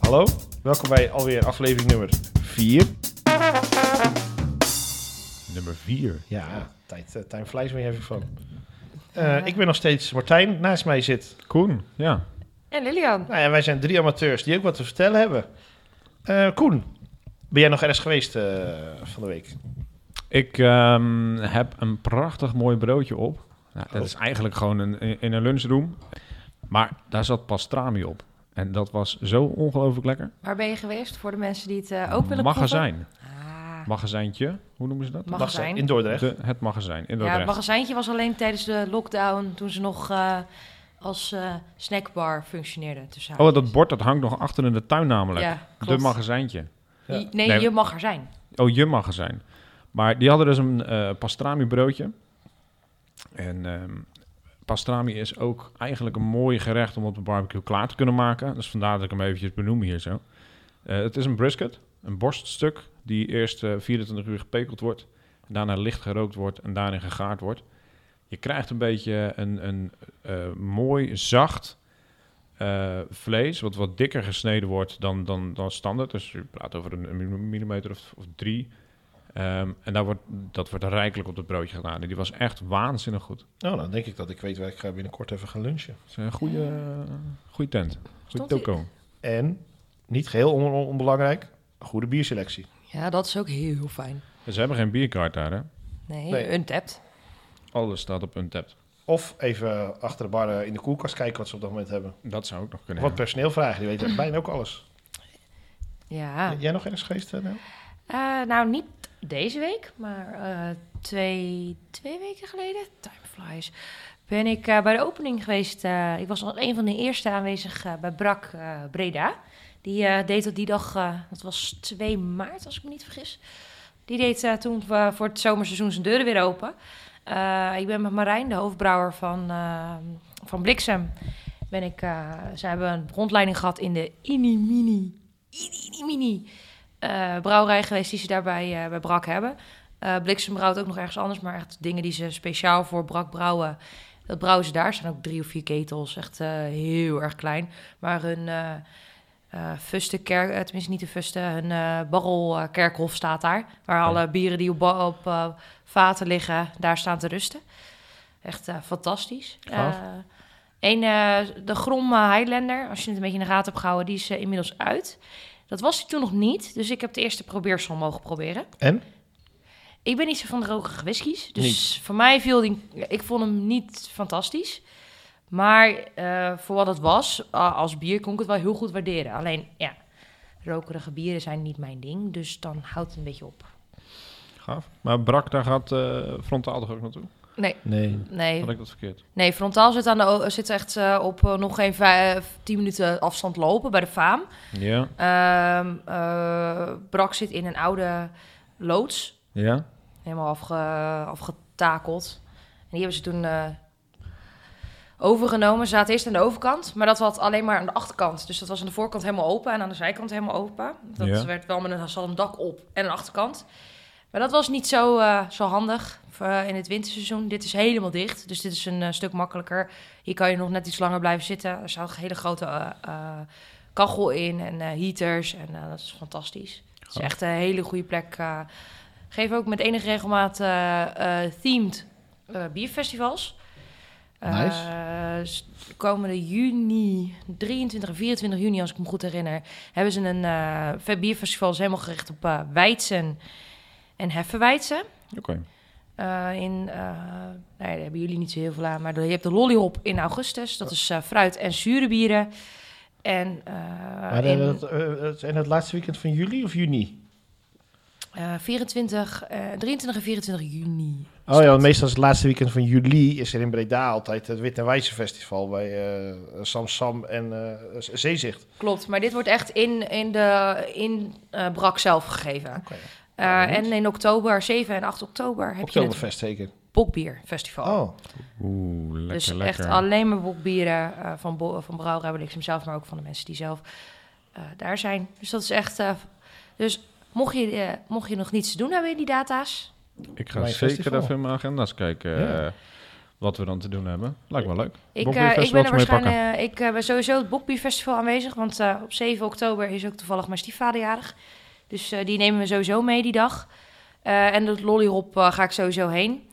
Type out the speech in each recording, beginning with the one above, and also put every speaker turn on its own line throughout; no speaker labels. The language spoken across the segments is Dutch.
Hallo, welkom bij alweer aflevering nummer 4. Nummer 4, ja. Tijd, eh, time flies waar je even van. Eh, ik ben nog steeds Martijn, naast mij zit.
Koen, ja.
En Lilian.
Nou ja, wij zijn drie amateurs die ook wat te vertellen hebben. Eh, Koen, ben jij nog ergens geweest eh, van de week?
Ik ehm, heb een prachtig mooi broodje op. Nou, dat
Oh.
is eigenlijk gewoon een, in een lunchroom. Maar daar zat pastrami op. En dat was zo ongelooflijk lekker.
Waar ben je geweest voor de mensen die het eh, ook willen
magazijn.
proeven? Ah,
Magazijntje. Hoe noemen ze dat?
magazijn.
In Dordrecht.
De- het magazijn. In
Ja, het
Dordrecht.
magazijntje was alleen tijdens de lockdown toen ze nog eh, als eh, snackbar functioneerde. Tussen
oh, dat
haakjes.
bord dat hangt nog achter in de tuin namelijk.
Ja,
de
klopt.
magazijntje.
Ja.
Je- Nee,
Nee.
je mag er zijn.
Oh, je magazijn. Maar die hadden dus een eh, pastrami broodje. En ehm, pastrami is ook eigenlijk een mooi gerecht om op de barbecue klaar te kunnen maken. Dus vandaar dat ik hem eventjes benoem hier zo. Eh, het is een brisket, een borststuk die eerst eh, 24 uur gepekeld wordt. en Daarna licht gerookt wordt en daarin gegaard wordt. Je krijgt een beetje een, een eh, mooi zacht eh, vlees, wat wat dikker gesneden wordt dan, dan, dan standaard. Dus je praat over een, een millimeter of, of drie. Ehm, en daar wordt, dat wordt rijkelijk op het broodje gedaan. En die was echt waanzinnig goed.
Nou, dan denk ik dat ik weet waar ik ga binnenkort even gaan lunchen.
Het is een goede, eh, goede tent. Goed
Stond die-
toko.
En, niet geheel on- on- onbelangrijk, een goede bierselectie.
Ja, dat is ook heel fijn.
Ze hebben geen bierkaart daar, hè?
Nee,
Nee.
untapped.
Alles staat op Untappd.
Of even achter de bar eh, in de koelkast kijken wat ze op dat moment hebben.
Dat zou ook nog kunnen.
Wat personeel vragen, die weten bijna ook alles.
Ja.
Jij nog ergens geweest, eh, Nel?
Eh, nou, niet deze week, maar eh, twee, twee weken geleden, time flies, ben ik eh, bij de opening geweest. eh, ik was als een van de eerste aanwezig eh, bij Brak eh, Breda. Die eh, deed dat die dag, eh, dat was 2 maart als ik me niet vergis. Die deed eh, toen we voor het zomerseizoen zijn deuren weer open. Eh, ik ben met Marijn, de hoofdbrouwer van, eh, van Bliksem, ben ik, eh, ze hebben een rondleiding gehad in de Inimini. Inimini eh brouwerij geweest die ze daarbij eh, bij Brak hebben. Eh Bliksem brouwt ook nog ergens anders, maar echt dingen die ze speciaal voor Brak brouwen. Dat brouwen ze daar. Er zijn ook drie of vier ketels, echt eh, heel erg klein. Maar hun eh eh, fuste kerk, eh, tenminste niet de fuste, hun eh barrel eh, kerkhof staat daar. Waar
Oké.
alle bieren die op, ba- op eh, vaten liggen, daar staan te rusten. Echt eh, fantastisch.
Gaaf.
Eh, een, eh, de Grom eh, Highlander, als je het een beetje in de gaten hebt gehouden, die is eh, inmiddels uit. Dat was hij toen nog niet, dus ik heb de eerste probeersel mogen proberen.
En?
Ik ben niet zo van de rokerige whiskies, dus
Niet.
voor mij viel die... Ik vond hem niet fantastisch. Maar eh, voor wat het was, a- als bier kon ik het wel heel goed waarderen. Alleen, ja, rokerige bieren zijn niet mijn ding, dus dan houdt het een beetje op.
Gaaf. Maar Brak, daar gaat eh, frontaal toch ook naartoe?
Nee,
Nee.
nee,
Had ik dat verkeerd?
Nee, frontaal zit, aan de, o- zit echt eh, op eh, nog geen vijf, tien minuten afstand lopen bij de faam.
Ja.
Ehm, eh, Brak zit in een oude loods,
Ja?
helemaal afge, afgetakeld. En die hebben ze toen eh, overgenomen. Ze zaten eerst aan de overkant, maar dat was alleen maar aan de achterkant. Dus dat was aan de voorkant helemaal open en aan de zijkant helemaal open. Dat
Ja.
werd wel met een, zat een dak op en een achterkant. Maar dat was niet zo, eh, zo handig voor, eh, in het winterseizoen. Dit is helemaal dicht, dus dit is een eh, stuk makkelijker. Hier kan je nog net iets langer blijven zitten. Er staat een hele grote eh, eh, kachel in en eh, heaters. En eh, dat is fantastisch. Het is
Gaaf.
echt een hele goede plek. eh. geef ook met enige regelmaat eh, eh, themed eh, bierfestivals.
Nice.
Eh, s- komende juni, 23 en 24 juni, als ik me goed herinner, hebben ze een eh, vet bierfestival. is helemaal gericht op eh Weidsen en Heffenweidsen.
Oké.
Eh, in, eh, nee, daar hebben jullie niet zo heel veel aan, maar de- je hebt de lollyhop in augustus.
Oh.
Dat is eh, fruit en zure bieren. En, eh,
Maar
in,
eh, dat, eh, het- en het laatste weekend van juli of juni?
eh, 24, eh, 23 en 24 juni.
Oh ja, want meestal is het laatste weekend van juli is er in Breda altijd het Wit en Wijze Festival bij eh, Sam Sam en eh, Z- Zeezicht.
Klopt, maar dit wordt echt in, in, de, in eh, Brak zelf gegeven. Eh,
Nou, goed.
en in oktober, 7 en 8 oktober, heb je het
Oktoberfest zeker.
Bokbierfestival.
Oh,
Oeh, lekker,
dus
lekker.
echt alleen maar bokbieren eh, van, bo- van brouwerij Bliksem zelf, maar ook van de mensen die zelf eh, daar zijn. Dus dat is echt... eh, dus mocht je, eh, mocht je nog niets te doen hebben in die data's...
Ik ga
Mijn
zeker
festival.
even in mijn agenda's kijken.
Ja.
eh, wat we dan te doen hebben. Lijkt wel leuk.
Ik,
Bokbier
eh, ik
Festival
ben
te
er
mee pakken.
waarschijnlijk. ik eh, ben sowieso het Bokbier Festival aanwezig. Want eh, op 7 oktober is ook toevallig mijn stiefvader jarig. Dus eh, die nemen we sowieso mee die dag. Eh, en dat lollyrop eh, ga ik sowieso heen.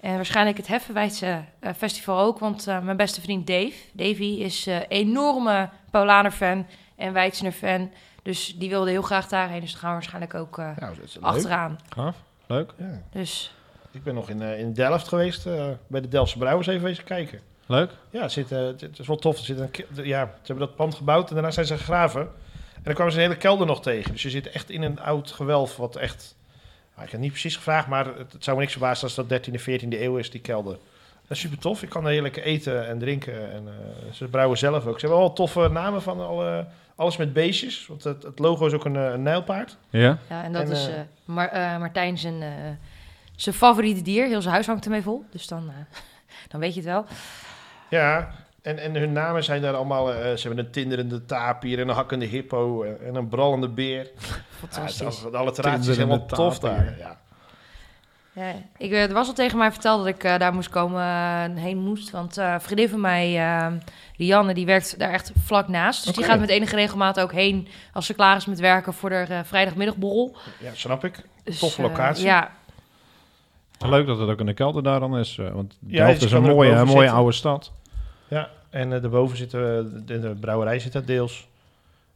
En waarschijnlijk het Heffenwijdse eh, festival ook. Want eh, mijn beste vriend Dave, Davy, is eh enorme Paulaner-fan en Weidsner-fan. Dus die wilde heel graag daarheen. Dus daar gaan we waarschijnlijk ook eh,
Nou, dat is leuk.
achteraan.
Gaaf. Leuk.
Ja.
Dus
Ik ben nog in, eh, in Delft geweest, eh, bij de Delftse Brouwers even eens kijken.
Leuk.
Ja, het, zit, eh, het- het is wel tof. Er zit een, ke- ja, ze hebben dat pand gebouwd en daarna zijn ze gegraven. En dan kwamen ze een hele kelder nog tegen. Dus je zit echt in een oud gewelf, wat echt... nou, ik heb niet precies gevraagd, maar het, het zou me niks verbazen als dat 13e, 14e eeuw is, die kelder. Dat is super tof. Ik kan er heerlijk eten en drinken. En, eh, ze brouwen zelf ook. Ze hebben wel toffe namen van alle, alles met beestjes. Want het, het logo is ook een, eh, een nijlpaard.
Ja.
ja, en dat
En,
is
eh,
eh, Mar- eh, Martijn zijn, eh, zijn favoriete dier. Heel zijn huis hangt ermee vol. Dus dan, eh, dan weet je het wel.
Ja, en, en hun namen zijn daar allemaal... eh, ze hebben een tinderende tapier en een hakkende hippo en, en een brallende beer. Ja, Ah, het,
Fantastisch.
alle alliteratie is
Tinderende
helemaal tof
tapier.
daar. Ja.
Ja, ik, eh, er was al tegen mij verteld dat ik eh, daar moest komen, eh, heen moest. Want eh, een vriendin van mij, eh, Rianne, die werkt daar echt vlak naast. Dus
Oké.
die gaat met enige regelmaat ook heen als ze klaar is met werken voor de eh, vrijdagmiddagborrel.
Ja, snap ik.
Dus,
Toffe
eh,
locatie.
ja,
Leuk dat het ook in de kelder daar dan is. eh, Want
Ja,
Delft
je
is
kan
een
er ook
mooie,
boven
mooie
zitten.
oude stad.
Ja, en eh, daarboven zit eh, de, de brouwerij zit daar deels.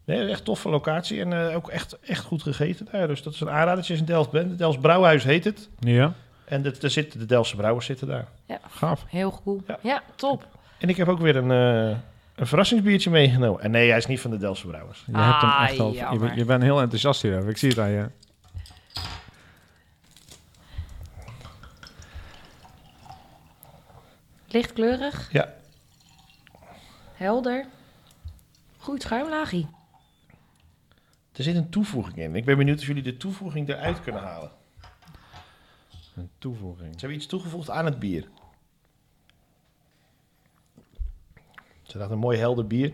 Nee, echt toffe locatie en eh, ook echt, echt goed gegeten daar. Dus dat is een aanradertje als je in Delft bent. Het Delfts Brouwhuis heet het.
Ja.
En de, de, zitten, de Delftse brouwers zitten daar.
Gaaf.
heel cool.
Ja.
Ja, top.
En ik heb ook weer een, eh, een verrassingsbiertje meegenomen. En nee, hij is niet van de Delftse brouwers.
Je hebt hem echt
Ah,
al. Je,
jammer.
bent- je bent heel enthousiast hierover. Ik zie het aan je.
Lichtkleurig.
Ja.
Helder. Goed schuimlaagje.
Er zit een toevoeging in. Ik ben benieuwd of jullie de toevoeging eruit kunnen halen.
Een toevoeging.
Ze hebben iets toegevoegd aan het bier. Ze dachten een mooi helder bier.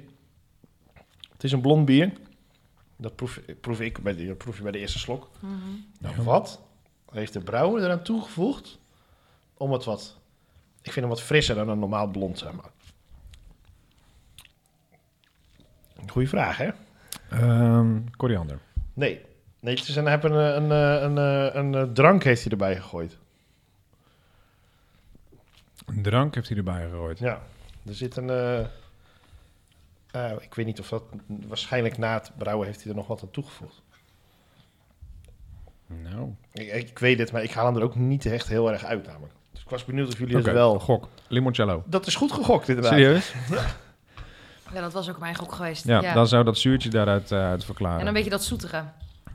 Het is een blond bier. Dat proef, proef ik bij de, dat proef je bij de eerste slok. Nou, wat heeft de brouwer eraan toegevoegd om het wat... Ik vind hem wat frisser dan een normaal blond, zeg maar. Goeie vraag, hè?
Ehm, koriander.
Nee. Nee, het is een, hij heeft een, eh, een, eh, een, eh, een, eh, drank heeft hij erbij gegooid.
Een drank heeft hij erbij gegooid.
Ja, er zit een. eh, eh, ik weet niet of dat. Waarschijnlijk na het brouwen heeft hij er nog wat aan toegevoegd.
Nou.
Ik, ik weet het, maar ik haal hem er ook niet echt heel erg uit, namelijk. Dus ik was benieuwd of jullie
Oké,
het wel.
Gok. Limoncello.
Dat is goed gegokt, inderdaad.
Serieus?
Ja, dat was ook mijn gok geweest.
Ja, Dan zou dat zuurtje daaruit eh, uit verklaren.
En een beetje dat zoetige.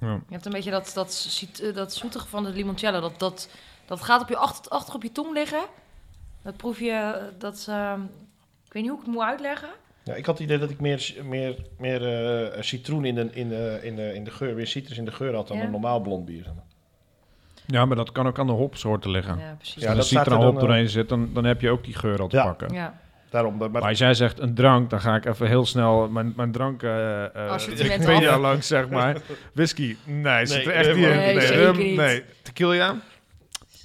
Ja.
Je hebt een beetje dat, dat, cit- eh, dat zoetige van de limoncello. Dat, dat, dat gaat op je achter, achter op je tong liggen. Dat proef je, eh, dat... ehm, ik weet niet hoe ik het moet uitleggen.
Ja, ik had het idee dat ik meer, meer, meer eh, citroen in de, in, de, in, de, in de geur, weer citrus in de geur had dan
Ja.
een normaal blond bier.
Ja, maar dat kan ook aan de hopsoorten liggen.
Ja,
Als
precies.
Ja,
er een
dat staat er
citroenhop
dan, eh,
doorheen zit, dan, dan heb je ook die geur al te
Ja.
pakken.
Ja.
Daarom, maar,
Maar als jij zegt een drank, dan ga ik even heel snel mijn, mijn drank... eh eh,
Assortiment
Wikipedia
af.
langs, zeg maar. Whisky, nee, zit er echt
nee,
niet in.
nee,
zeker
rum,
niet.
nee. Tequila?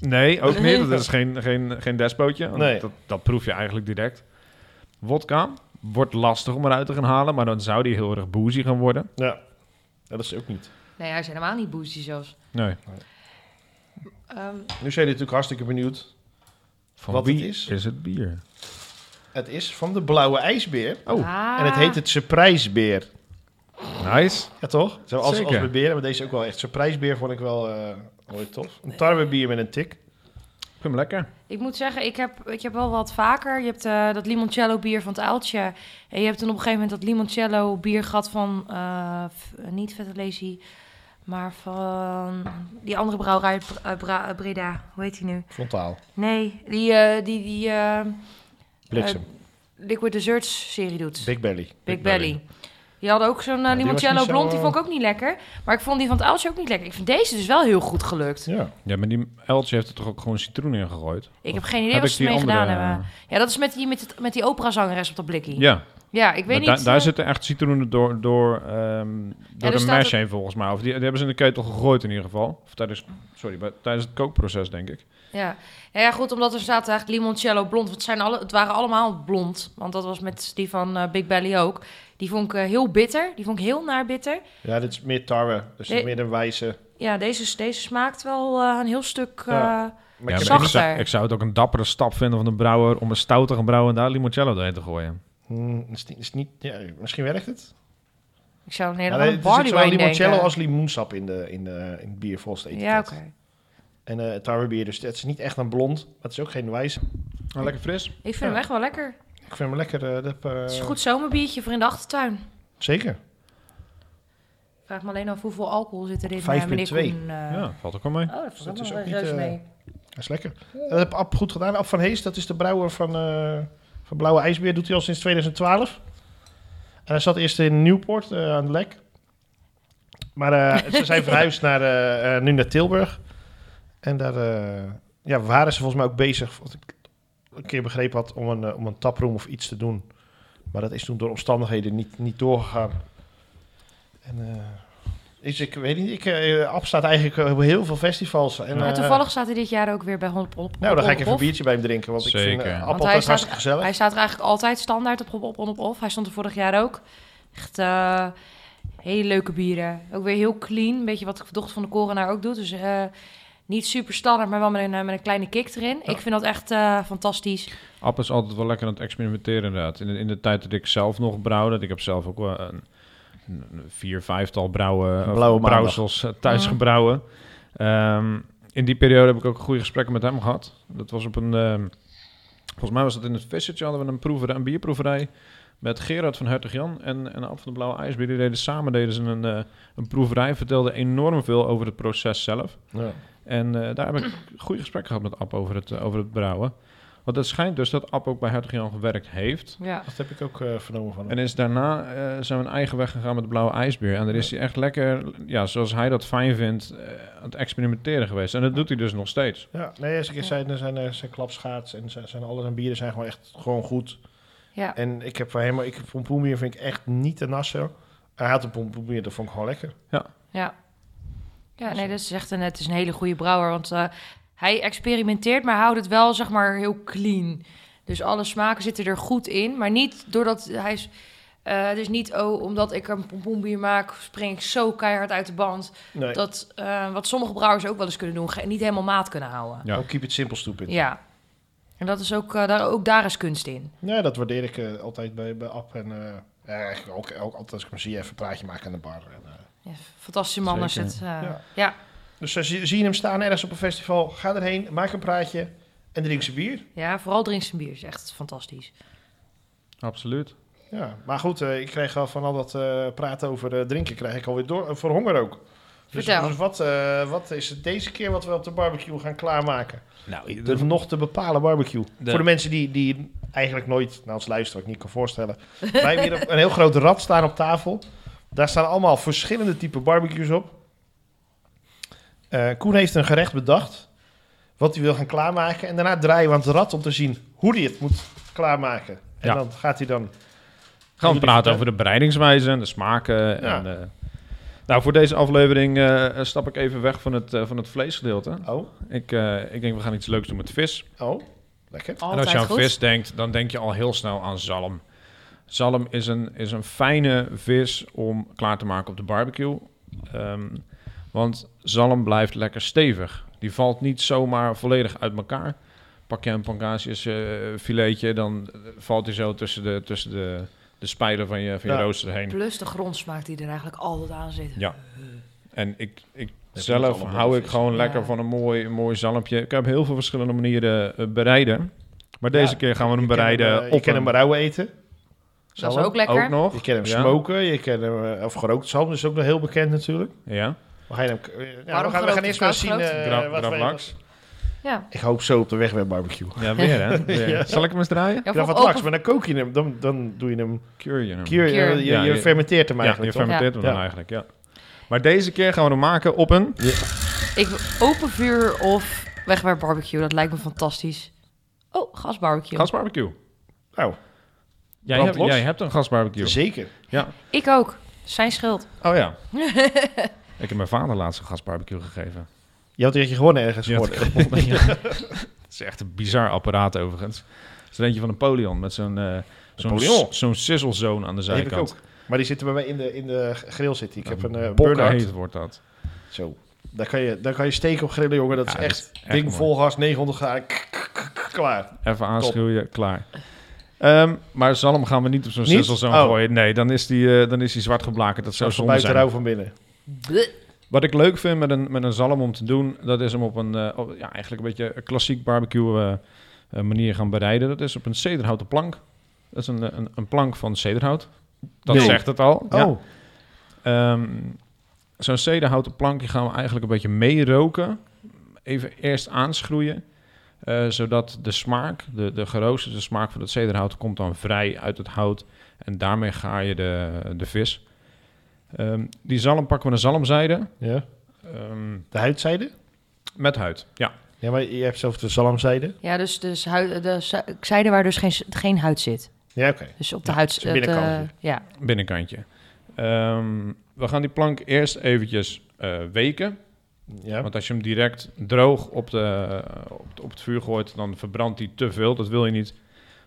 Nee, ook niet. Dat is geen, geen, geen despootje. want
Nee.
Dat, dat proef je eigenlijk direct. Wodka wordt lastig om eruit te gaan halen, maar dan zou die heel erg boozy gaan worden.
ja. Ja, dat is ook niet.
Nee, hij is helemaal niet boozy zelfs.
Nee.
Ehm,
Nu zijn jullie natuurlijk hartstikke benieuwd.
Van
Wat
wie
het is?
het bier?
Het is van de blauwe ijsbeer.
Oh,
ah.
En het heet het surprisebeer.
nice.
Ja, toch? Zo als, als
Zeker.
met beren, maar deze ook wel echt. Surprisebeer vond ik wel eh mooi tof. Een tarwebier met een tik.
Ik vind hem lekker.
Ik moet zeggen, ik heb, ik heb wel wat vaker. Je hebt eh, dat limoncello bier van het Uiltje. En je hebt toen op een gegeven moment dat limoncello bier gehad van... eh, v- niet Vettelezi, maar van die andere brouwerij uit Br- uit Bra- uit Breda. Hoe heet die nu?
Frontaal.
Nee, die, eh, die, die eh,
Bliksem.
Liquid Desserts serie doet.
Big
Big,
Belly.
Belly. Die hadden ook zo'n eh,
die was
limoncello
niet zo,
blond, die
eh,
vond ik ook niet lekker. Maar ik vond die van het Uiltje ook niet lekker. Ik vind deze dus wel heel goed gelukt.
Ja.
Ja, maar die Eltje heeft er toch ook gewoon citroen in gegooid?
Ik eh, heb geen idee wat ze ermee gedaan hebben.
eh,
Ja, dat is met die, met het, met die operazangeres op dat blikje.
Ja,
Ja, ik weet
maar da-
niet.
daar
eh,
zitten echt citroenen door, door, ehm, Door
er
de
staat
mash
ook-
heen volgens mij. Of die, die hebben ze in de ketel gegooid in ieder geval. Of tijdens, sorry, bij- tijdens het kookproces denk ik.
Ja. ja, ja, goed, omdat er staat eigenlijk limoncello blond. Want het, zijn alle, het waren allemaal blond. Want dat was met die van eh, Big Belly ook. Die vond ik eh, heel bitter. Die vond ik heel naar bitter.
Ja, dit is meer tarwe. Dus dit is
Nee.
meer een wijze.
Ja, deze, deze smaakt wel eh, een heel stuk... eh,
Ja.
Ja,
Maar ik
maar
heb
Zacht.
ik,
echt-
zou, ik zou het ook een dappere stap vinden van de brouwer om een stoutige brouwer en daar limoncello doorheen te gooien.
Hmm, is niet, is niet, ja, misschien werkt het.
Ik zou een
Ja,
hele
nee,
andere
er zit
barley
zowel
wine
limoncello
denken.
als limoensap in, de, in, de, in het bier volgens het
Ja,
etiket.
oké.
En eh, tarwebier, dus het is niet echt een blond. Maar het is ook geen wijze.
Ah, lekker fris.
Ik vind
Ja.
hem echt wel lekker.
Ik vind hem lekker. eh, dat, eh,
Het is een goed zomerbiertje voor in de achtertuin.
Zeker.
Ik vraag me alleen af hoeveel alcohol zit erin. eh,
5,2.
meneer Koen, eh.
Ja, valt ook wel mee.
Oh, dat
Dus
valt
dat
ook
is
wel
ook niet,
reus
eh,
mee.
Dat is lekker. Dat heb Ab goed gedaan. Ab van Hees, dat is de brouwer van, eh, van Blauwe IJsbeer. Doet hij al sinds 2012. En hij zat eerst in Nieuwpoort eh, aan het lek. Maar eh, ze zijn verhuisd naar, eh, eh, nu naar Tilburg. En daar eh, ja, waren ze volgens mij ook bezig, wat ik een keer begrepen had, om een, eh, om een taproom of iets te doen. Maar dat is toen door omstandigheden niet, niet doorgegaan. En, eh, is, ik weet niet, ik, eh, Ab staat eigenlijk op heel veel festivals. En,
Maar
eh,
toevallig staat hij dit jaar ook weer bij Hop Hop.
nou, dan ga ik even een
Hop.
biertje bij hem drinken, want ik vind
Zeker.
eh,
Want
appel
hij
is
staat-
hartstikke gezellig.
Hij staat er eigenlijk altijd standaard op Hop Hop Hop Hop. Hij stond er vorig jaar ook. Echt eh, hele leuke bieren. Ook weer heel clean. Een beetje wat de dochter van de korenaar ook doet. Dus eh, niet super standaard, maar wel met een, eh, met een kleine kick erin. Ik vind dat echt eh, fantastisch.
App is altijd wel lekker aan het experimenteren inderdaad. In de, in de tijd dat ik zelf nog brouwde, dat ik heb zelf ook wel een, een vier, vijftal brouwen, of
Blauwe maandag.
brouwsels eh, thuis
Mhm.
gebrouwen. Ehm, in die periode heb ik ook goede gesprekken met hem gehad. Dat was op een, ehm, volgens mij was dat in het Vissertje, hadden we een, proeverij, een bierproeverij met Gerard van Hertog-Jan en, en Ab van de Blauwe IJsbeer. Die deden samen deden ze een, eh, een proeverij, vertelden enorm veel over het proces zelf.
Ja.
En eh, daar heb ik goede gesprekken gehad met App over het, eh, over het brouwen. Want het schijnt dus dat App ook bij Hertog Jan gewerkt heeft.
Ja.
Dat heb ik ook eh, vernomen van hem.
En is daarna eh, zijn we een eigen weg gegaan met de blauwe ijsbeer. En daar is hij echt lekker, ja, zoals hij dat fijn vindt, eh, aan het experimenteren geweest. En dat doet hij dus nog steeds.
Ja, nee, als ik eerst zei, zijn, eh, zijn klapschaats en zijn, zijn alle zijn bieren zijn gewoon echt gewoon goed.
ja.
En ik heb van hem, ik pompoenbier vind ik echt niet te nassen. Hij had een pompoenbier, dat vond ik gewoon lekker.
Ja. Ja, nee, dat is echt een, het is een hele goede brouwer. Want eh, hij experimenteert, maar houdt het wel zeg maar heel clean. Dus alle smaken zitten er goed in. Maar niet doordat hij... is- eh, het is niet, oh, omdat ik een pompoenbier maak... spring ik zo keihard uit de band.
Nee,
Dat, eh, wat sommige brouwers ook wel eens kunnen doen... ge- niet helemaal maat kunnen houden.
Ja.
ook oh, keep it simple stupid. Ja,
Ja. En dat is ook, eh, daar, ook daar is kunst in.
dat waardeer ik eh, altijd bij, bij App. En eh, ja, eigenlijk ook, ook altijd als ik hem zie, even een praatje maken aan de bar. En, eh,
Ja, fantastische man is
Zeker.
het. eh, ja.
Ja. Dus eh, zie, zie je hem staan ergens op een festival, ga erheen, maak een praatje en drink zijn bier.
ja, vooral drink zijn bier is echt fantastisch.
Absoluut.
Ja, maar goed, eh, ik kreeg al van al dat eh, praten over eh, drinken, krijg ik alweer door, eh, voor honger ook. Dus,
Vertel.
dus wat, eh, wat is het deze keer wat we op de barbecue gaan klaarmaken?
Nou,
De nog te bepalen barbecue.
De-
Voor de mensen die, die eigenlijk nooit, nou als luisteraar ook niet kan voorstellen. wij hebben hier op een heel groot rad staan op tafel. Daar staan allemaal verschillende typen barbecues op. Eh, Koen heeft een gerecht bedacht. Wat hij wil gaan klaarmaken. En daarna draaien we aan het rad om te zien hoe hij het moet klaarmaken. En
Ja.
dan gaat hij dan
Gaan we
Jullie
praten
vertellen.
over de bereidingswijze en de smaken. En, eh, nou, voor deze aflevering eh, stap ik even weg van het, eh, van het vleesgedeelte.
Oh,
Ik, eh, ik denk, we gaan iets leuks doen met vis.
oh, lekker.
Altijd
en als je aan
goed.
vis denkt, dan denk je al heel snel aan zalm. Zalm is een, is een fijne vis om klaar te maken op de barbecue. Ehm, want zalm blijft lekker stevig. Die valt niet zomaar volledig uit elkaar. Pak je een pancasius eh, filetje, dan eh, valt hij zo tussen de, tussen de, de spijlen van je, van je
Ja.
rooster heen.
Plus de grondsmaak die er eigenlijk altijd aan zit.
Ja. En ik, ik
is
zelf
allemaal
hou ik
vis.
gewoon
Ja.
lekker van een mooi, een mooi zalmpje. Ik heb heel veel verschillende manieren eh, bereiden. Maar deze
Ja,
keer gaan we hem
Je kan
bereiden
hem, eh,
op
je kan hem rauw eten.
Dat is
Zalm.
ook lekker.
Ook nog.
Je kan hem
Ja.
smoken. Je kan hem, eh, of gerookt zalm is ook nog heel bekend natuurlijk.
Ja.
We gaan, hem, eh, ja,
Waarom
we gaan, we gaan
gerookt
eerst
en
maar
koud
zien eh,
gerookt?
Grab-
wat we-
Gravlax.
Ja.
Ik hoop zo op de weg met barbecue.
Ja, weer hè? Weer.
Ja.
Zal ik hem eens draaien?
Ja,
Ja,
voor
wat
open,
laks, maar dan kook je hem. Dan, dan doe je hem.
Cure je hem.
Cure, eh,
Cure.
je,
Ja,
je
je-
fermenteert hem
Ja, je
eigenlijk. toch?
fermenteert hem
Ja.
dan eigenlijk, ja. Maar deze keer gaan we hem maken op een...
ik, open vuur of wegwerp barbecue, dat lijkt me fantastisch. Oh, gasbarbecue.
Gasbarbecue.
Nou,
Jij
Brand
hebt,
los.
jij hebt een gasbarbecue.
zeker.
Ja.
Ik ook. Zijn schuld.
Oh ja. ik heb mijn vader laatst een gastbarbecue gegeven.
Je had je gewonnen ergens
Die had ik
geworden.
gewonnen, ja. Het is echt een bizar apparaat overigens. Het is er eentje van Napoleon met zo'n eh zo'n
Napoleon?
s- zo'n sizzlezone aan de
Die heb ik
zijkant.
ook. Maar die zitten bij mij in de, in de grill zitten. Ik heb een eh
Bokken
burn-out.
heet wordt dat.
Zo. Daar kan, je, daar kan je steken op grillen, jongen. Dat
Ja,
is echt
dat is echt
ding
mooi.
vol gas, 900 graden. k- k- k- k- Klaar.
Even aanschroeien, klaar. Ehm, maar zalm gaan we niet op zo'n
Niet?
sizzlezone
Oh.
gooien. Nee, dan is die, eh, dan is die zwart geblakerd. Dat zou
Zo van
zonde
buiten
zijn.
rauw van binnen.
Wat ik leuk vind met een, met een zalm om te doen, dat is hem op een eh, op- ja, eigenlijk een beetje een klassiek barbecue eh, eh, manier gaan bereiden. Dat is op een cederhouten plank. Dat is een, eh, een, een plank van cederhout. Dat
Nee.
zegt het al. Ja.
Oh,
Ehm, Zo'n cederhouten plankje gaan we eigenlijk een beetje meeroken. Even eerst aanschroeien. eh, zodat de smaak, de, de geroosterde smaak van het cederhout, komt dan vrij uit het hout. En daarmee ga je de, de vis. Ehm, die zalm pakken we een zalmzijde.
ja.
Ehm,
De huidzijde?
met huid, ja.
Ja, maar je hebt zelf de zalmzijde.
Ja, dus, dus hui- de zu- ik zei er waar dus geen, geen huid zit.
Ja, oké.
Dus op de huid...
is een binnenkantje.
de- ja.
Binnenkantje. Ehm, we gaan die plank eerst eventjes eh, weken.
Ja.
Want als je hem direct droog op, de, eh, op, het- op het vuur gooit, dan verbrandt hij te veel. Dat wil je niet.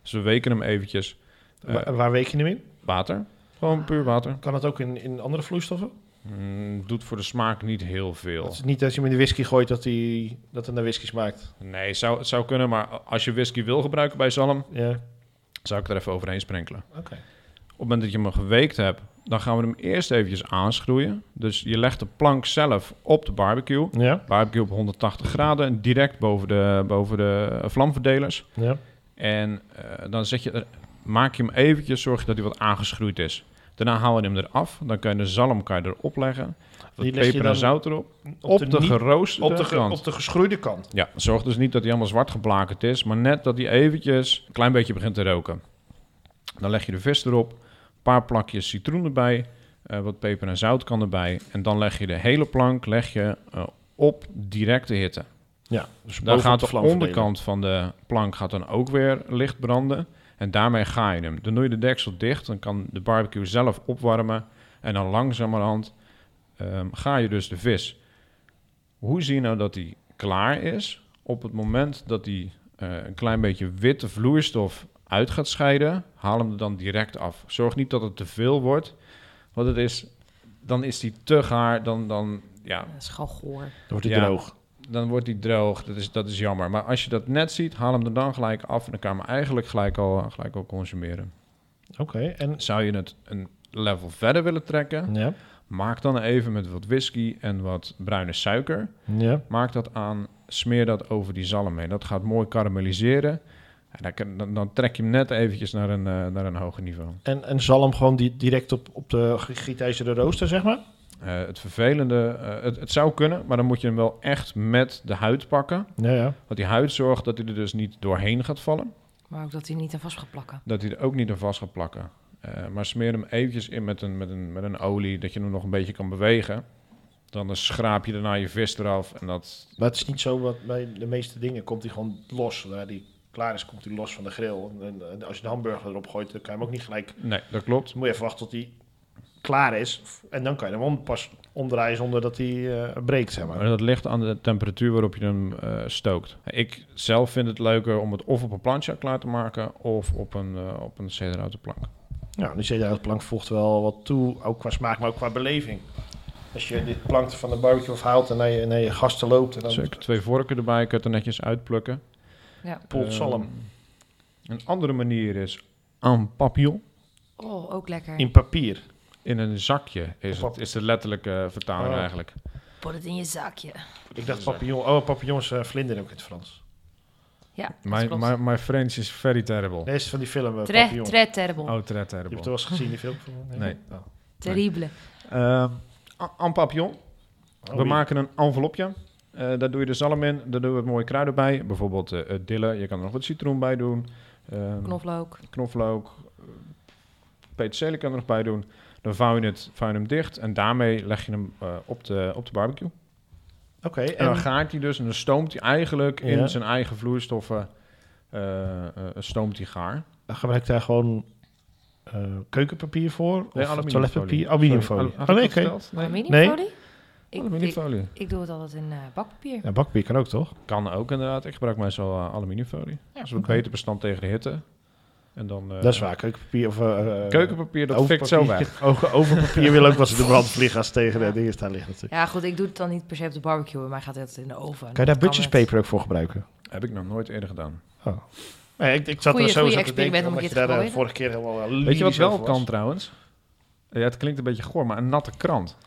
Dus we weken hem eventjes. Eh,
Wa- waar week je hem in?
water. Gewoon puur water.
Kan dat ook in, in andere vloeistoffen?
Mm, doet voor de smaak niet heel veel.
Dat is niet dat je hem in de whisky gooit dat, die, dat het naar whisky smaakt.
Nee, het zou, het zou kunnen. Maar als je whisky wil gebruiken bij zalm,
Ja,
zou ik er even overheen sprenkelen.
oké.
op het moment dat je hem geweekt hebt, dan gaan we hem eerst eventjes aanschroeien. Dus je legt de plank zelf op de barbecue.
Ja,
Barbecue op 180 graden, direct boven de, boven de eh, vlamverdelers.
ja.
En eh, dan zet je er, maak je hem eventjes, zorg je dat hij wat aangeschroeid is. Daarna haal je hem eraf, dan kan je de zalm kan je erop leggen. Wat
Die leg je
peper en
dan
zout erop. Op, de,
niet-
geroosterde
op, de, ge-
kant.
op de geschroeide kant.
Ja, zorg dus niet dat hij helemaal zwart geblakerd is, maar net dat hij eventjes een klein beetje begint te roken. Dan leg je de vis erop, een paar plakjes citroen erbij, eh, wat peper en zout kan erbij. En dan leg je de hele plank leg je, eh, op directe hitte.
Ja, dus
Dan
bovenop
gaat
de
de
vlam verdelen.
onderkant van de plank gaat dan ook weer licht branden. En daarmee ga je hem. Dan doe je de deksel dicht, dan kan de barbecue zelf opwarmen. En dan langzamerhand ehm, ga je dus de vis. Hoe zie je nou dat die klaar is? Op het moment dat die eh, een klein beetje witte vloeistof uit gaat scheiden, haal hem er dan direct af. Zorg niet dat het te veel wordt, want het is, dan is die te gaar. Dan, dan, ja,
Dat is gewoon goor.
Dan wordt hij
Ja.
droog.
dan wordt die droog. Dat is, dat is jammer. Maar als je dat net ziet, haal hem er dan gelijk af. En dan kan je hem eigenlijk gelijk al, gelijk al consumeren.
Oké, en...
Zou je het een level verder willen trekken?
Ja,
Maak dan even met wat whisky en wat bruine suiker.
ja.
Maak dat aan, smeer dat over die zalm heen. Dat gaat mooi karamelliseren. En dan, kan- dan, dan trek je hem net eventjes naar een, eh, naar een hoger niveau.
En, en zalm gewoon die, direct op, op de g- gietijzeren rooster, zeg maar?
Eh, het vervelende, eh, het, het zou kunnen, maar dan moet je hem wel echt met de huid pakken.
Ja, ja.
Want die huid zorgt dat hij er dus niet doorheen gaat vallen.
Maar ook dat hij niet aan vast gaat plakken.
dat hij er ook niet aan vast gaat plakken. Eh, maar smeer hem eventjes in met een, met, een, met een olie, dat je hem nog een beetje kan bewegen. Dan eh, schraap je daarna je vis eraf en dat...
Maar het is niet zo, wat bij de meeste dingen komt hij gewoon los. Zodra die klaar is, komt hij los van de grill. En, en- en als je de hamburger erop gooit, dan kan je hem ook niet gelijk...
Nee, dat klopt.
Dan moet je even wachten tot hij klaar is. En dan kan je hem om- pas omdraaien zonder dat hij eh, breekt, zeg maar.
Maar dat ligt aan de temperatuur waarop je hem eh, stookt. Ik zelf vind het leuker om het of op een plancha klaar te maken... of op een, eh op een cederhouten plank.
Ja, nu zit je uit plank voegt wel wat toe. Ook qua smaak, maar ook qua beleving. Als je dit plankje van de barbecue afhaalt en naar je, naar je gasten loopt... En dan
Zeker twee vorken erbij, kun je het er netjes uitplukken.
Ja.
Eh,
poelt zalm.
Ehm, een andere manier is aan papillon.
Oh, ook lekker.
In papier.
In een zakje is, het, is de letterlijke vertaling
Oh.
eigenlijk.
Put het in je zakje.
Ik dacht papillon. Oh, papillon is eh, vlinder ook in het Frans.
Ja, dat
My,
klopt.
my, my French is very terrible.
Nee, is van die film eh,
Tre,
papillon.
tre terrible.
Oh, très
Je
terrible.
hebt het wel eens gezien, die film?
Nee.
Oh.
Terrible.
Ehm, a- en papillon.
Oh,
we
wie-
maken een envelopje. Eh, daar doe je de zalm in. Daar doen we mooie kruiden bij. Bijvoorbeeld eh eh, dille. Je kan er nog wat citroen bij doen. Ehm,
Knoflook.
knoflook. eh, Peterselie kan er nog bij doen. Dan vouw je, het, vouw je hem dicht. En daarmee leg je hem eh, op, de, op de barbecue.
Oké,
En dan
en...
gaat hij dus. En dan stoomt hij eigenlijk
Ja.
in zijn eigen vloeistoffen. eh, eh, stoomt hij gaar.
Dan gebruik daar gewoon eh, keukenpapier voor? Of
aluminiumfolie.
toiletpapier?
Sorry,
Aluminiumfolie.
had ik
Oh, nee,
dat
oké.
verteld? Nee,
Aluminiumfolie? Ik, ik,
aluminiumfolie.
ik doe het altijd in eh, bakpapier.
Ja, bakpapier kan ook, toch?
Kan ook inderdaad. Ik gebruik meestal eh, aluminiumfolie. dat is wat
oké.
beter bestand tegen de hitte. En dan, eh,
dat is waar, keukenpapier of... eh, eh,
Keukenpapier, dat fikt zo
overpapier.
weg.
Over- Overpapier wil ook wat ze de brandvliegers tegen de dingen staan liggen natuurlijk.
Ja, goed, ik doe het dan niet per se op de barbecue, maar gaat het in de oven.
Kan je daar
budgetpaper?
butcherspaper ook voor gebruiken?
Heb ik nog nooit eerder gedaan.
Nee, ik, ik zat
Goeie-
er zo
goeie
eens aan te
experiment
denken,
om een
omdat je
keer
daar
te
de
gooien.
vorige keer helemaal eh,
Weet je wat
lyrisch
wel
over
kan
was?
trouwens? Ja, het klinkt een beetje goor, maar een natte krant.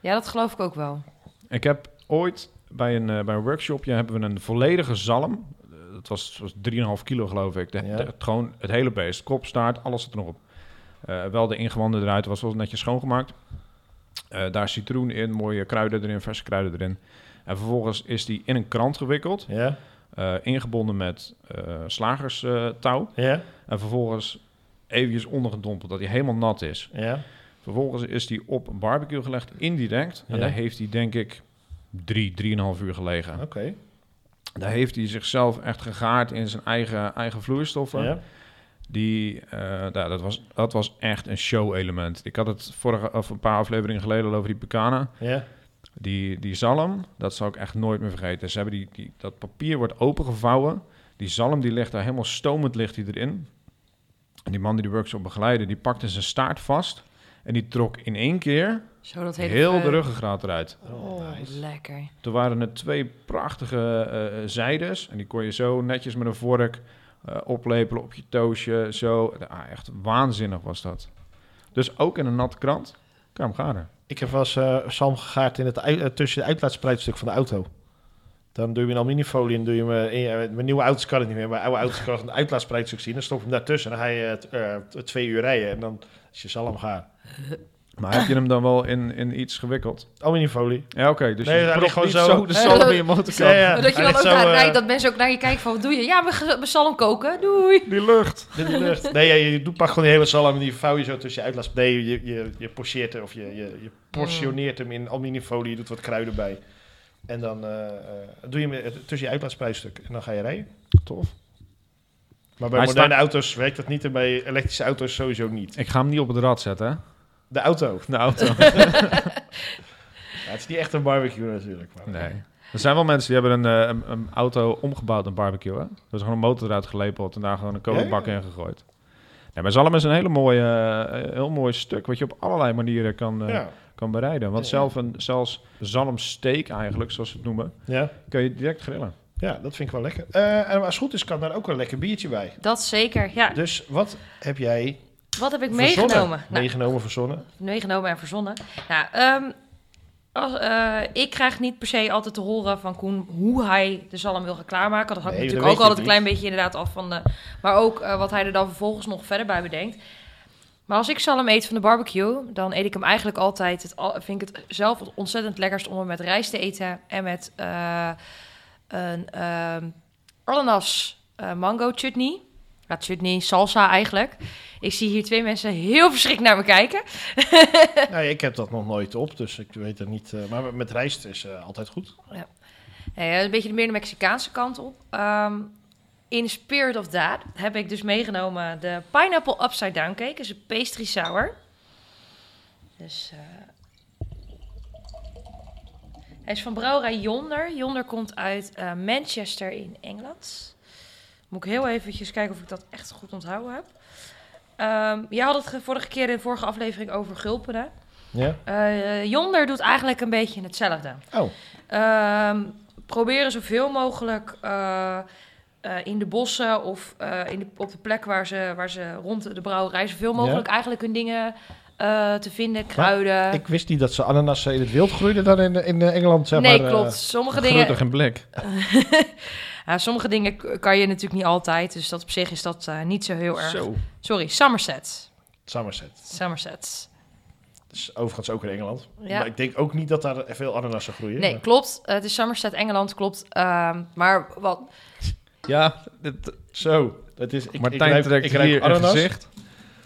Ja, dat geloof ik ook wel.
Ik heb ooit bij een, eh, bij een workshopje hebben we een volledige zalm. Eh, Dat was, was 3,5 kilo geloof ik. De-
Ja.
de- het gewoon het hele beest. Kop, staart, alles zit erop. Eh wel de ingewanden eruit. was wel netjes schoongemaakt. Eh, daar citroen in, mooie kruiden erin, verse kruiden erin. En vervolgens is die in een krant gewikkeld.
Ja,
eh, ingebonden met eh, slagerstouw.
ja,
en vervolgens eventjes ondergedompeld, dat hij helemaal nat is.
ja.
Vervolgens is die op een barbecue gelegd, indirect. En
Ja.
daar heeft hij, denk ik, drie, drieënhalf uur gelegen.
Oké.
Daar heeft hij zichzelf echt gegaard in zijn eigen, eigen vloeistoffen.
Ja.
Die, eh, nou, dat, was, dat was echt een show-element. Ik had het vorige, of een paar afleveringen geleden al over die pecana.
Ja.
Die, die zalm, dat zal ik echt nooit meer vergeten. Ze hebben die, die, dat papier wordt opengevouwen. Die zalm die ligt daar helemaal stomend ligt die erin. En die man die de workshop begeleidde, die pakte zijn staart vast. En die trok in één keer
Zo dat hele
heel
veu-
de ruggengraat eruit.
Oh, lekker.
Toen waren er twee prachtige eh, eh, zijdes. En die kon je zo netjes met een vork eh, oplepelen op je toosje. Zo. Ah, echt waanzinnig was dat. Dus ook in een natte krant. Kan je hem garen.
Ik heb wel eens eh, zalm gegaard in het ui- eh, tussen het uitlaatspreitstuk van de auto. Dan doe je een aluminiumfolie en doe je hem... eh, in je- met mijn nieuwe auto's kan het niet meer. Mijn oude auto's kan een uitlaatspreitstuk zien. Dan stop je hem daartussen en dan ga je eh, t- eh, t- twee uur rijden. En dan is je zalm gaar.
Maar heb je hem dan wel in, in iets gewikkeld?
Aluminiumfolie.
Ja, oké. dus
Nee,
je
hij
propt
ligt gewoon
niet
zo.
de zalm in je
Ja,
motorkant.
ja.
Maar dat je
Hij
dan ook
ligt zo,
naar-
eh,
nee, dat mensen ook naar je kijken van, wat doe je? Ja, we ge- we zalm koken, doei.
Die lucht.
Dit is lucht. Nee, ja, je doet pak gewoon die hele zalm en die vouw je zo tussen je uitlaat. Nee, je, je, je pocheert er of je, je, je portioneert hem in aluminiumfolie. Je doet wat kruiden bij. En dan eh, eh, doe je hem eh, tussen je uitlaatsprijsstuk en dan ga je rijden.
Tof.
Maar bij
Hij
moderne
staat-
auto's werkt dat niet en bij elektrische auto's sowieso niet.
Ik ga hem niet op het rad zetten, hè?
De auto.
De
Nou,
auto.
Ja, het is niet echt een barbecue natuurlijk. Maar.
Nee. Er zijn wel mensen die hebben een, eh, een, een auto omgebouwd een barbecue. Hè? Er is gewoon een motor eruit gelepeld en daar gewoon een kolenbak in gegooid. Nee, maar zalm is een hele mooie, eh, heel mooi stuk wat je op allerlei manieren kan, eh,
Ja.
kan bereiden. Want
Ja.
zelf een, zelfs zalmsteak eigenlijk, zoals ze het noemen,
Ja.
kun je direct grillen.
ja, dat vind ik wel lekker. Eh, en als het goed is, kan daar ook een lekker biertje bij.
Dat zeker, ja.
Dus wat heb jij
Wat heb ik
verzonnen?
meegenomen? Nou,
Meegenomen, verzonnen.
meegenomen en verzonnen. Nou, ehm, als, eh, ik krijg niet per se altijd te horen van Koen hoe hij de zalm wil gaan klaarmaken. Dat hangt
Nee, dat
natuurlijk ook
weet je
altijd een klein beetje inderdaad af van de... Maar ook eh, wat hij er dan vervolgens nog verder bij bedenkt. Maar als ik zalm eet van de barbecue, dan eet ik hem eigenlijk altijd... Het, al- vind ik het zelf het ontzettend lekkerst om hem met rijst te eten. En met eh, een ehm, ananas eh, mango chutney. Ja, chutney, salsa eigenlijk. Ik zie hier twee mensen heel verschrikt naar me kijken.
nou, ik heb dat nog nooit op, dus ik weet het niet. eh, maar met rijst is eh, altijd goed.
Nee, een beetje meer de Mexicaanse kant op. Ehm, in Spirit of That heb ik dus meegenomen de Pineapple Upside Down Cake. is een pastry sour. Dus, eh, hij is van brouwerij Yonder. Yonder komt uit eh, Manchester in Engeland. Moet ik heel eventjes kijken of ik dat echt goed onthouden heb. Ehm jij had het ge- vorige keer in de vorige aflevering over gulpen. hè?
Ja?
Eh, Yonder doet eigenlijk een beetje hetzelfde.
Oh,
Ehm, proberen zoveel mogelijk eh, eh, in de bossen of eh, in de, op de plek waar ze, waar ze rond de brouwerij zoveel mogelijk eigenlijk hun dingen eh, te vinden, kruiden.
ik wist niet dat ze ananassen in het wild groeiden dan in, in eh, Engeland, zeg
nee,
maar. eh,
klopt. Sommige dingen,
Gelukkig in blik.
ja, sommige dingen k- kan je natuurlijk niet altijd, dus dat op zich is dat eh, niet zo heel erg.
Zo.
Sorry, Somerset.
Somerset.
Somerset.
Dat is overigens ook in Engeland.
Ja.
Maar ik denk ook niet dat daar veel ananassen groeien.
Nee,
maar-
klopt. Eh, het is Somerset, Engeland, klopt. Ehm, maar wat,
Ja, dit,
Zo, dat is... Ik,
Martijn
ik ruik,
trekt
ik ruik
hier een
ananas,
gezicht.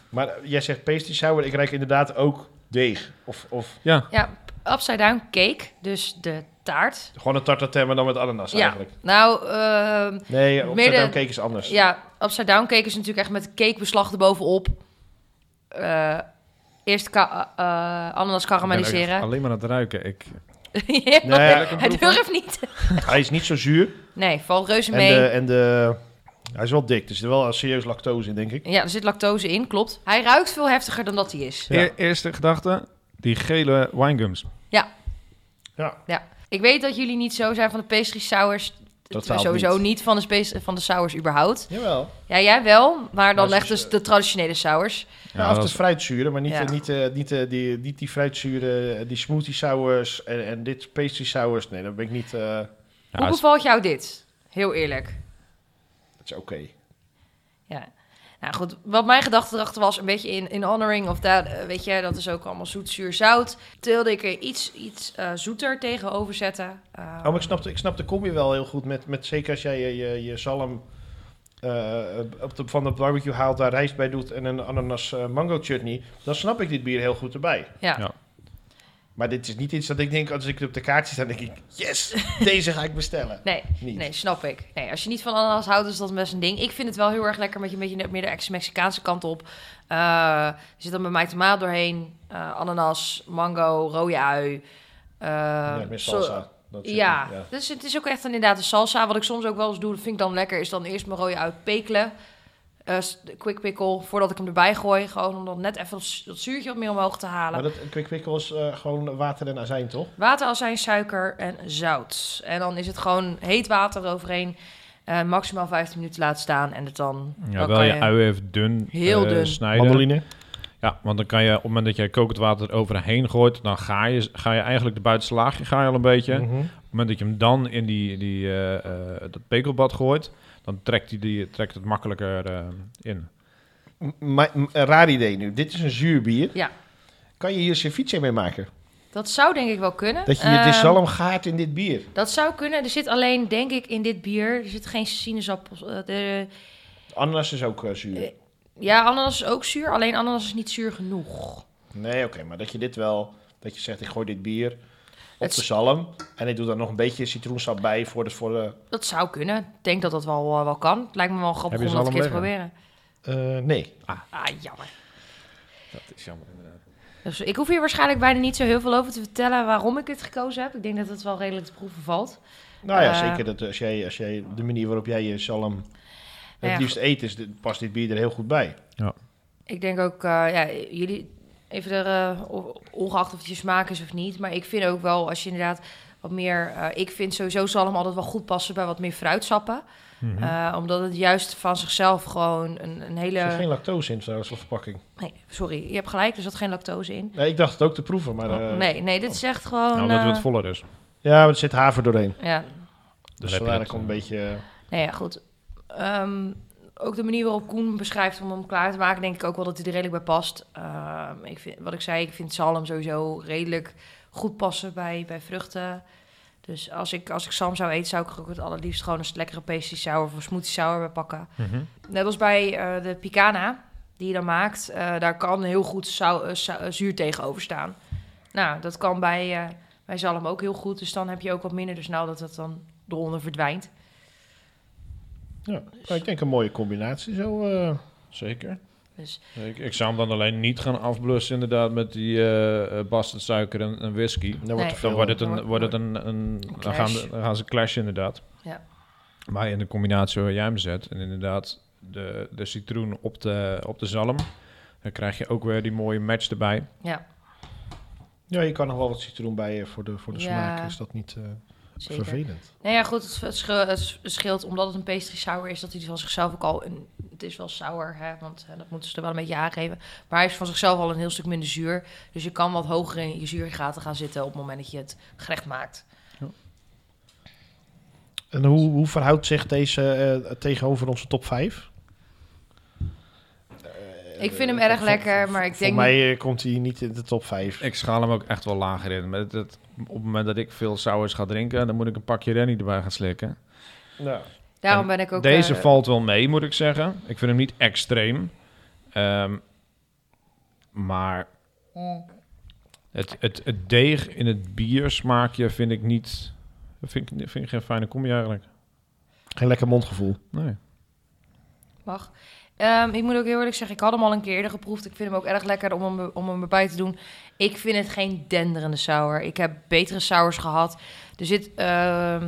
Maar eh, jij zegt pastry sour, ik ruik inderdaad ook deeg. Of, of
Ja,
ja, upside down cake, dus de taart.
gewoon een tartatin, maar dan met ananas
Ja.
eigenlijk.
Nou, ehm,
Nee,
Meer
upside
de-
down cake is anders.
Ja, upside down cake is natuurlijk echt met cakebeslag erbovenop. eh, eerst ka- eh, eh, ananas
Ik ben ook echt
karamelliseren.
alleen maar aan het ruiken. Ik,
Ja,
Nee, ja,
Hij durft niet.
hij is niet zo zuur.
Nee, valt reuze
En
mee.
de, en de, hij is wel dik, dus er zit wel serieus lactose in, denk ik.
Ja, er zit lactose in, klopt. Hij ruikt veel heftiger dan dat hij is.
Ja.
E- eerste gedachte, die gele winegums.
Ik weet dat jullie niet zo zijn van de pastry sours. Eh,
Totaal
sowieso
niet.
niet, van, de space, van de sours überhaupt.
Jawel.
Ja, jij wel, maar dan
Maar
echt
ze- eh,
dus de traditionele sours.
Ja,
Ja,
af en
dat
toe
is-
fruitzuren, maar niet,
Ja.
eh, niet, eh, niet, eh, die, niet die fruitzuren, eh, die smoothie sours en, en dit pastry sours. Nee, dat ben ik niet. eh,
Ja,
Hoe
het is-
bevalt jou dit? Heel eerlijk.
dat is oké.
Oh. Ja. Nou goed, wat mijn gedachte erachter was, een beetje in, in honoring of dat, eh, weet je, dat is ook allemaal zoet, zuur, zout. Toen wilde ik er iets, iets eh, zoeter tegenover zetten. Eh,
Oh, maar ik snap, de- ik snap de combi wel heel goed. Met, met, zeker als jij je, je, je zalm eh, op de, van de barbecue haalt, daar rijst bij doet en een ananas eh, mango chutney. Dan snap ik dit bier heel goed erbij.
ja.
Ja.
Maar dit is niet iets dat ik denk, als ik het op de kaart zie, dan denk ik, yes, deze ga ik bestellen.
Nee,
Niet.
Nee, snap ik. Nee, als je niet van ananas houdt, is dat best een ding. Ik vind het wel heel erg lekker met je een beetje meer de ex-Mexicaanse kant op. Eh, er zit dan bij mij tomaat doorheen, eh, ananas, mango, rode ui. eh,
ja, meer
so-
salsa. Dat soort
ja,
dingen,
dus het is ook echt inderdaad een salsa. Wat ik soms ook wel eens doe, dat vind ik dan lekker, is dan eerst mijn rode ui pekelen. Eh, s- quick pickle, voordat ik hem erbij gooi. Gewoon om dan net even dat su- dat zuurtje wat meer omhoog te halen.
Maar dat quick pickle is eh, gewoon water en azijn, toch?
Water, azijn, suiker en zout. En dan is het gewoon heet water overheen. eh, maximaal 15 minuten laten staan. En het dan,
ja,
dan
wel
kan
je ui even dun,
Heel
eh,
dun.
snijden. Ja, want dan kan je op het moment dat jij kokend water overheen gooit, dan ga je, ga je eigenlijk de buitenste laagje ga je al een beetje. Op
Mhm.
het moment dat je hem dan in die, die, eh, eh, dat pekelbad gooit, dan trekt, die, die, trekt het makkelijker eh, in.
M- maar- m- een raar idee nu. Dit is een zuur bier.
Ja.
Kan je hier ceviche mee maken?
Dat zou denk ik wel kunnen.
Dat je je
Ehm,
zalm gaart in dit bier.
Dat zou kunnen. Er zit alleen, denk ik, in dit bier... Er zit geen sinaasappels... eh, de-
Ananas is ook eh, zuur.
Eh. ja, ananas is ook zuur. Alleen ananas is niet zuur genoeg.
Nee, oké. maar dat je dit wel... Dat je zegt, ik gooi dit bier op
Het-
de zalm. En ik doe daar nog een beetje citroensap bij voor de... Voor de
Dat zou kunnen. Ik denk dat dat wel, eh, wel kan. Het lijkt me wel grappig
Heb
om
je
dat een keer te
zalm
proberen.
Eh, nee.
Ah, jammer.
Dat is jammer inderdaad.
Dus ik hoef hier waarschijnlijk bijna niet zo heel veel over te vertellen waarom ik dit gekozen heb. Ik denk dat het wel redelijk te proeven valt.
Nou ja,
Eh.
zeker dat als jij, als jij... De manier waarop jij je zalm het
ja,
liefst eet, is, dit- past dit bier er heel goed bij.
Ik denk ook, eh, ja, jullie even er, eh, o- ongeacht of het je smaak is of niet. Maar ik vind ook wel, als je inderdaad wat meer... eh, ik vind sowieso zalm altijd wel goed passen bij wat meer fruitsappen.
Mhm.
Eh, omdat het juist van zichzelf gewoon een, een
Er zit
hele...
geen lactose in trouwens, de verpakking.
Nee, sorry, je hebt gelijk, er zat geen lactose in.
Nee, ik dacht het ook te proeven, maar... eh,
Oh, nee, nee, dit is echt gewoon...
nou, dat
eh,
het voller is.
Ja, maar er zit haver doorheen.
ja,
Dus
heb je
vandaar dat
dat,
ik een
eh,
beetje... eh,
Nou ja, goed. Ehm, ook de manier waarop Koen beschrijft om hem klaar te maken, denk ik ook wel dat hij er redelijk bij past. Ehm, ik vind, wat ik zei, ik vind zalm sowieso redelijk goed passen bij, bij vruchten. Dus als ik, als ik zalm zou eten, zou ik er ook het allerliefst gewoon een lekkere pastry sour of een smoothie sour bij pakken.
Mhm.
Net als bij eh, de picana die je dan maakt, eh, daar kan heel goed zou, eh, zou- eh, zuur tegenover staan. Nou, dat kan bij, eh, bij zalm ook heel goed, dus dan heb je ook wat minder de snel dat dat dan eronder verdwijnt.
Ja, nou, ik denk een mooie combinatie zo. eh.
Zeker.
Dus
Ik, ik zou hem dan alleen niet gaan afblussen inderdaad met die eh eh, bastardsuiker en, en whisky.
dan wordt
Nee.
er veel.
Dan wordt het
Dan
een,
wordt-
wordt het een, een, dan, gaan,
clash.
de- dan gaan ze clashen inderdaad.
Ja.
Maar in de combinatie waar jij hem zet en inderdaad de, de citroen op de, op de zalm, dan krijg je ook weer die mooie match erbij.
ja,
Ja, je kan nog wel wat citroen bij eh, voor de, voor de
Ja.
smaak. Is dat niet eh,
zeker.
vervelend?
Nou ja, goed, het, het sche- het sch- scheelt omdat het een pastry sour is, dat hij van zichzelf ook al een. Het is wel sour, hè, want eh, dat moeten ze er wel een beetje aangeven. Maar hij is van zichzelf al een heel stuk minder zuur. Dus je kan wat hoger in je zuurgraten gaan zitten op het moment dat je het gerecht maakt.
En hoe, hoe verhoudt zich deze eh, tegenover onze top 5?
Eh, Ik vind hem erg lekker, maar ik denk
Voor mij eh, komt hij niet in de top 5.
Ik schaal hem ook echt wel lager in. Maar het- het- op het moment dat ik veel sours ga drinken, dan moet ik een pakje Rennie erbij gaan slikken.
Nou,
Daarom
En
ben ik ook.
Deze
eh,
valt wel mee, moet ik zeggen. Ik vind hem niet extreem. Ehm, maar het, het, het deeg in het biersmaakje vind ik niet... Dat vind ik, vind ik geen fijne combi eigenlijk.
geen lekker mondgevoel.
Nee.
Mag. Ehm, ik moet ook heel eerlijk zeggen, ik had hem al een keer eerder geproefd. Ik vind hem ook erg lekker om hem, om hem erbij te doen. Ik vind het geen denderende sour. Ik heb betere sours gehad. Er zit... ehm,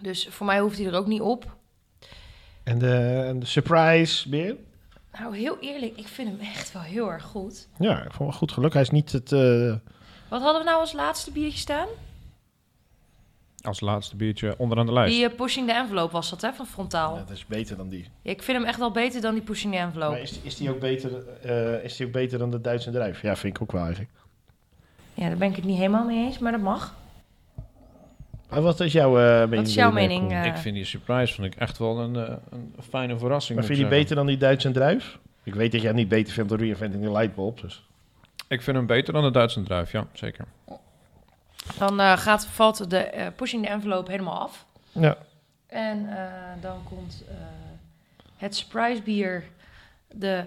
dus voor mij hoeft hij er ook niet op.
En de, en de surprise beer?
Nou, heel eerlijk, ik vind hem echt wel heel erg goed.
Ja, ik vond wel goed geluk. Hij is niet het... eh,
Wat hadden we nou als laatste biertje staan?
Als laatste biertje onderaan de lijst.
Die eh, Pushing the Envelope was dat, hè, van Frontaal.
dat is beter dan
Oh.
die.
Ik vind hem echt wel beter dan die Pushing the
Maar
Envelope.
is, is, die ook beter, eh, is die ook beter dan de Duitse drijf? Ja, vind ik ook wel eigenlijk.
Ja, daar ben ik het niet helemaal mee eens, maar dat mag.
Maar wat is jouw eh, mening?
Wat is jouw
meneer
mening?
Koen?
eh?
Ik vind die surprise vond ik echt wel een, eh, een fijne verrassing.
Maar
moet
vind je die
ik
beter
zeggen.
dan die Duitse drijf? Ik weet dat jij hem niet beter vindt dan Reinventing the Lightbulb. Dus.
Ik vind hem beter dan de Duitse druif, ja, zeker.
Dan eh, gaat, valt de eh, Pushing the Envelope helemaal af.
Ja.
En eh, dan komt eh, het surprise bier, de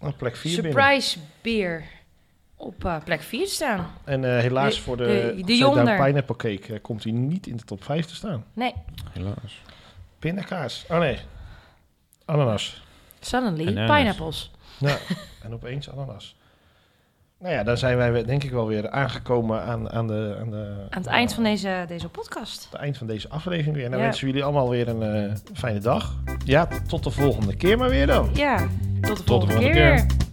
Op Ah, plek 4 binnen.
surprise bier, op eh, plek 4 staan.
En eh, helaas voor de,
de-
upside
de
down
Yonder.
Pineapple Cake eh, komt hij niet in de top 5 te staan.
Nee,
Helaas.
Pindakaas. Oh nee. Ananas.
suddenly
Bananas.
pineapples.
Ja. en opeens ananas. Nou ja, dan zijn wij weer- denk ik wel weer aangekomen aan, aan, de, aan, de,
Aan het eind van deze, deze podcast.
het eind van deze aflevering weer. En dan
Ja.
wensen we jullie allemaal weer een eh, fijne dag. Ja, tot de volgende keer maar weer dan.
Ja, tot de volgende,
volgende
keer.
keer.
weer.